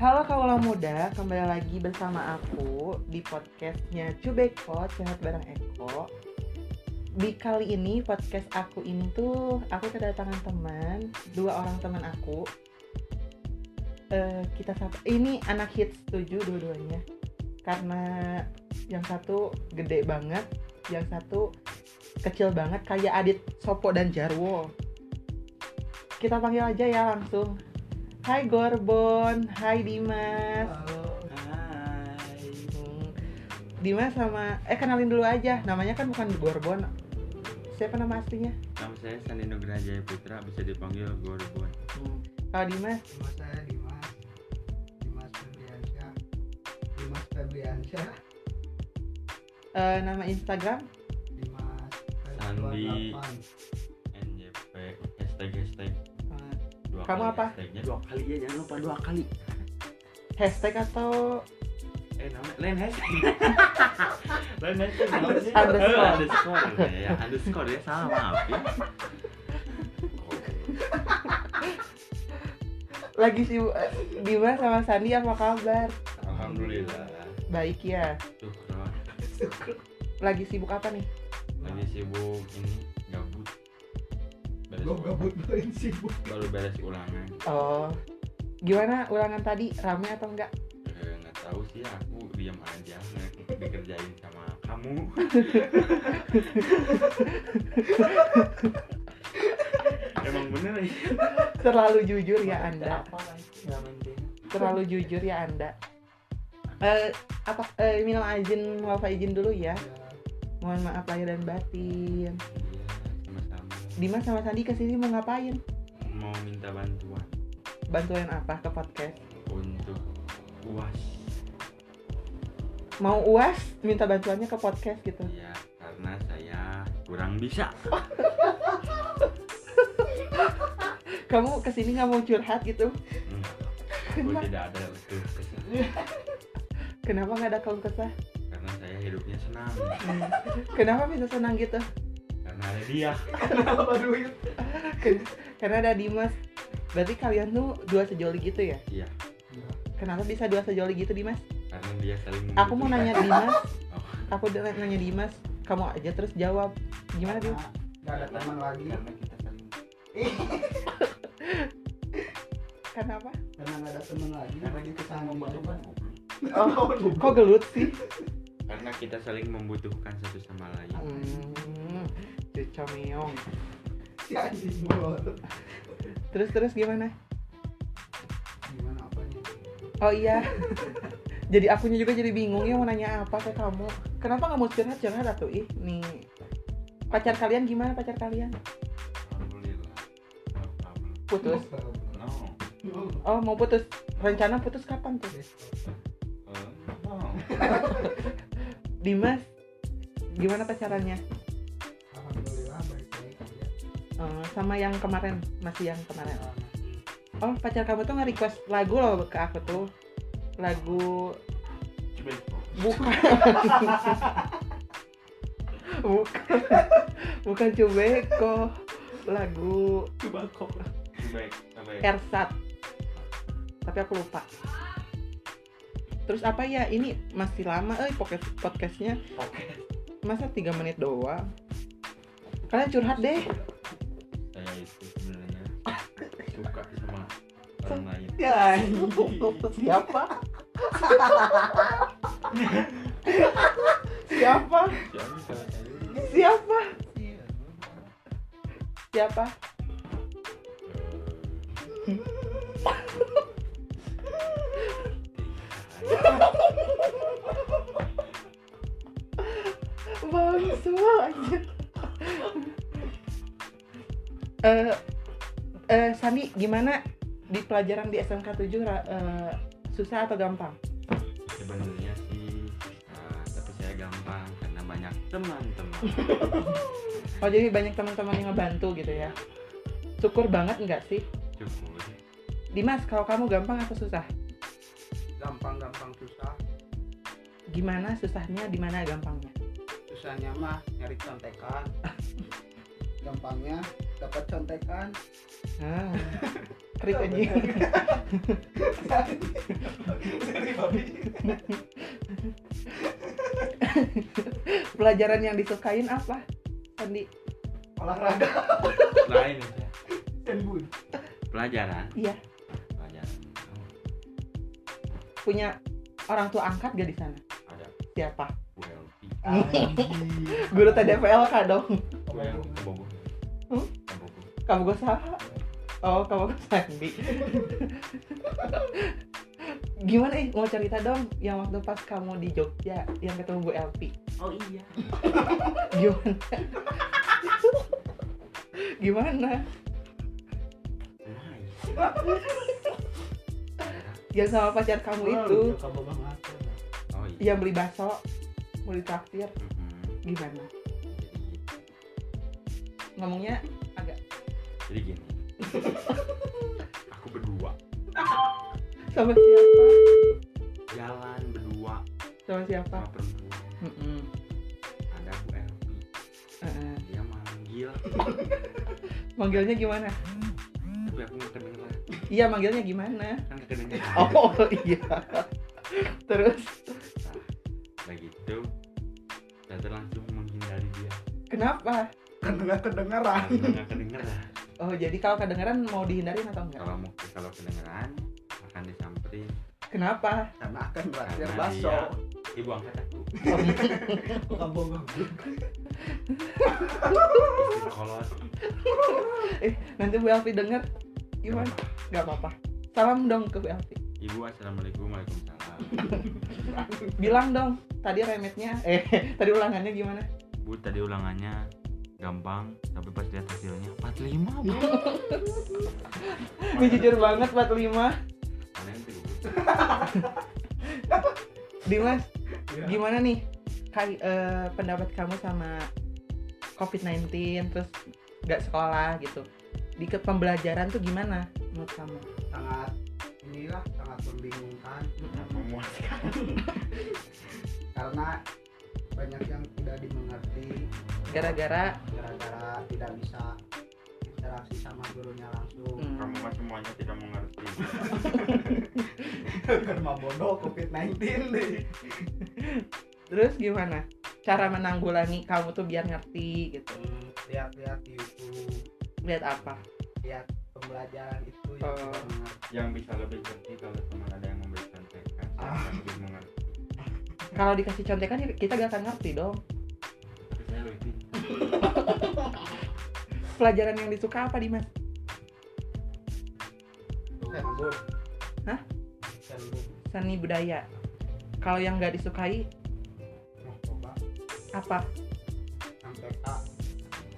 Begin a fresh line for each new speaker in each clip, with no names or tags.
Halo kaulah muda, kembali lagi bersama aku di podcastnya Cubeko, Sehat Bareng Eko. Di kali ini podcast aku ini tuh aku kedatangan teman, dua orang teman aku. Eh, kita sapa, ini anak hits tujuh dua-duanya. Karena yang satu gede banget, yang satu kecil banget kayak Adit Sopo dan Jarwo. Kita panggil aja ya langsung. Hai Gorbon, hai Dimas.
Halo. Hai.
Hmm, Dimas sama eh kenalin dulu aja. Namanya kan bukan Gorbon. Siapa nama aslinya?
Nama saya Sandi Nugraha Jaya Putra, bisa dipanggil Gorbon.
Hmm. Kalau Dimas,
Nama saya Dimas. Dimas Febriansyah. Dimas Febriansyah.
eh, nama Instagram
Dimas
Sandi.
28.
NJP, hashtag hashtag
eh,
dua
Kamu
kali
apa?
Hashtagnya dua kali ya, jangan lupa dua kali.
hashtag atau
Eh, namanya lain hashtag. lain hashtag apa sih?
Underscore.
Eh, underscore. Ya, underscore ya salah maaf ya.
lagi sih eh, Dimas sama Sandi apa kabar?
Alhamdulillah.
Baik ya.
Syukur.
Lagi sibuk apa nih?
Lagi sibuk ini gabut. Beres
Gue gabut main sibuk.
Baru beres ulangan.
Oh, gimana ulangan tadi? Rame atau enggak?
Eh, nggak tahu sih aku diam aja nggak dikerjain sama kamu emang bener ya
Terlalu jujur ya Anda.
apa lagi nggak penting
Terlalu jujur ya Anda. Eh, apa eh, minal aizin wal faizin dulu ya. Mohon maaf lahir dan batin.
iya sama-sama
Dimas sama Sandi kesini mau ngapain?
mau minta bantuan
Bantuin apa ke podcast?
untuk uas
Mau uas minta bantuannya ke podcast gitu.
ya karena saya kurang bisa
Kamu kesini nggak mau curhat gitu?
Hmm. aku tidak ada untuk kesal
Kenapa nggak ada kaum kesah?
karena saya hidupnya senang
Hmm. Kenapa bisa senang gitu?
karena ada dia
Kenapa duit?
Karena ada Dimas. Berarti kalian tuh dua sejoli gitu ya?
Iya.
Kenapa bisa dua sejoli gitu Dimas?
karena dia saling
Aku mau
membutuhkan.
nanya Dimas.
Oh.
Aku udah nanya Dimas. Kamu aja terus jawab. Gimana Dimas?
Karena Gak ada teman lagi.
karena kita saling
Kenapa?
Karena gak ada teman lagi.
karena kita saling membutuhkan
Oh,
goblok.
Kok gelut sih?
karena kita saling membutuhkan satu sama lain
Hmm. Cucu meong.
si anjing bolot.
Terus terus gimana?
Gimana apanya?
Oh iya. jadi akunya juga jadi bingung ya mau nanya apa ke kamu. Kenapa nggak mau curhat curhat atuh ih nih. Pacar kalian gimana pacar kalian?
alhamdulillah no problem
Putus.
no
No.
Oh mau putus. Rencana putus kapan tuh?
Eh, no
Dimas gimana pacarannya?
Alhamdulillah baik-baik aja.
Eh, sama yang kemarin masih yang kemarin.
Nah,
Oh pacar kamu tuh nggak request lagu loh ke aku tuh lagu
coba
bukan bukan bukan cubeko lagu
coba kok coba coba
Ersat tapi aku lupa terus apa ya ini masih lama eh podcast podcastnya
oke
masa tiga menit doang kalian curhat deh
saya itu sebenarnya suka sama orang lain
Ya,
siapa siapa
siapa salah saya Eh,
siapa siapa bang semua aja eh eh Sandi gimana di pelajaran di SMK 7 ra- eh, susah atau gampang
sebenarnya sih eh, tapi saya gampang karena banyak teman-teman
oh jadi banyak teman-teman yang ngebantu gitu ya syukur banget nggak sih
cukup
Dimas kalau kamu gampang atau susah
gampang-gampang susah.
gimana susahnya di mana gampangnya
susahnya mah nyari contekan gampangnya dapat contekan
Ah, krik
Oh,
aja.
dari babi
Pelajaran yang disukain apa? Sandi.
olahraga
lain ya
dan bun
pelajaran
Iya.
pelajaran Oh,
Punya orang tua angkat gak di sana?
ada
Siapa?
WLP
Guru TDPLK dong.
yang kebobo
Hmm?
kebobo
Kamu gue salah. Oh, kamu gue Sandi. Gimana eh mau cerita dong yang waktu pas kamu di Jogja yang ketemu Bu Elpi.
oh iya
Gimana? Gimana?
Nice.
Yang sama pacar kamu itu
oh iya
yang beli bakso mau ditraktir
Mhm.
gimana?
jadi
Ngomongnya
jadi gini aku berdua
sama siapa?
jalan berdua
Sama siapa?
sama perempuan
Mm-mm.
ada Bu Elvi
Heeh.
dia manggil
Manggilnya gimana?
tapi aku nggak kedengeran
Iya manggilnya gimana?
kan kedengeran
Oh iya. Terus
udah gitu Tata langsung menghindari dia
kenapa?
kedengar kedengaran
karena nggak kedengeran
Oh jadi kalau kedengeran mau dihindarin atau enggak?
kalau mau kalau kedengeran akan disamperin
Kenapa?
karena akan berakhir
Karena
baso
dia- ibu angkat ya. aku
Oh, gitu.
bukan bohong
istri kolot
Nanti Bu Elvi denger gimana? Gak apa-apa. Salam dong ke Bu Elvi.
ibu assalamualaikum waalaikumsalam
Bilang dong tadi remetnya eh tadi ulangannya gimana?
bu tadi ulangannya gampang tapi pas lihat hasilnya 45 bu
Ini jujur banget 45.
kalian tuh gitu.
Dimas,
Iya.
gimana nih Kai- eh, pendapat kamu sama COVID-19 terus nggak sekolah gitu di ke pembelajaran tuh gimana menurut kamu?
sangat inilah sangat membingungkan
memuaskan
karena banyak yang tidak dimengerti
Gara-gara
gara-gara tidak bisa interaksi sama gurunya langsung
hmm,
kamu mah semuanya tidak mengerti
karena bodoh covid-19 nih
terus gimana cara menanggulangi kamu tuh biar ngerti gitu
Hmm, lihat-lihat di YouTube
lihat apa?
lihat pembelajaran itu
Oh.
yang tidak mengerti
yang bisa lebih ngerti kalau teman ada yang memberi contekan saya akan lebih mengerti
Kalau dikasih contekan ya kita gak akan ngerti dong.
tapi saya lebih pintar.
Pelajaran yang disuka apa Dimas?
Senbun
Hah?
Senbun
Seni budaya. Kalau yang nggak disukai
mau coba
apa?
sampai A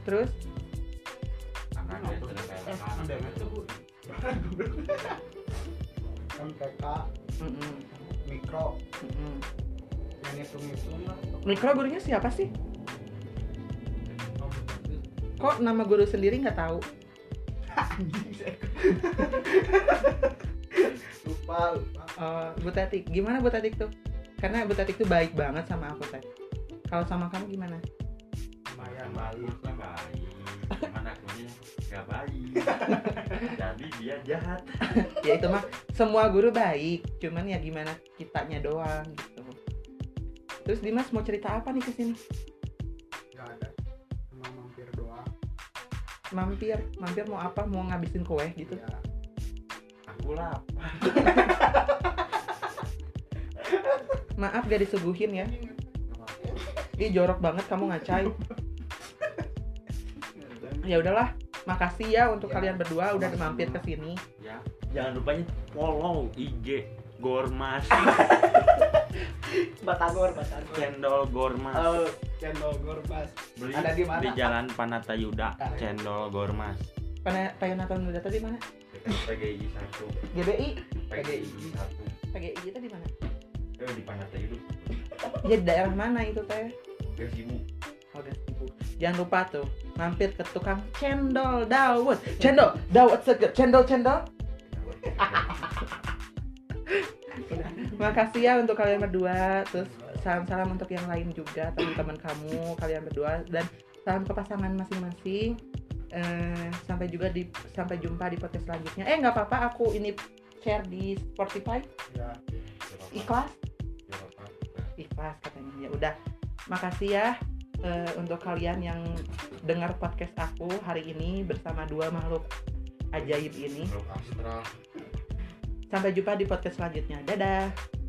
Terus
akan dia selesai
Udah ngerti, Bu. MTK
Mm-mm,
mikro
mm-mm.
yang hitung-hitung lah
mikro gurunya siapa sih? Kok nama guru sendiri nggak tahu?
Anjing, saya- lupa lupa
Eh, Bu Tati, gimana Bu Tati tuh? Karena Bu Tati tuh baik banget sama aku Tati. Kalau sama kamu gimana?
lumayan
baik
baik lah
baik cuman akunya gak baik jadi dia jahat
Ya itu mah semua guru baik, cuman ya gimana kitanya doang gitu. Terus Dimas mau cerita apa nih kesini?
nggak ada cuma mampir doang
Mampir, mampir mau apa? Mau ngabisin kue gitu?
ya
aku lapar
Maaf gak disuguhin ya. Ih jorok banget kamu ngacai. Ya udahlah, makasih ya untuk
Ya,
kalian berdua udah
sama-sama.
mampir kesini.
ya jangan lupanya follow IG Gormas
batagor batagor
cendol Gormas
Eh, cendol gorbas
beli
ada di mana?
di Jalan Panatayuda cendol Gormas
Pernah Natal udah tadi mana?
PGI 1
GBI,
PGI 1
PGI kita di mana?
eh di Panatayuda
Ya di daerah mana itu teh?
udah sibuk
Oke, ibu. Jangan lupa tuh mampir ke tukang cendol dawet. Cendol dawet seger. Cendol cendol. Makasih ya untuk kalian berdua. Terus salam-salam untuk yang lain juga teman-teman kamu, kalian berdua dan salam ke pasangan masing-masing. eh, sampai juga di sampai jumpa di podcast selanjutnya. Eh nggak apa-apa aku ini share di Spotify
ya
ikhlas
Gak apa-apa.
ikhlas katanya ya udah makasih ya eh, untuk kalian yang dengar podcast aku hari ini bersama dua makhluk ajaib ini
Kalau astral
sampai jumpa di podcast selanjutnya dadah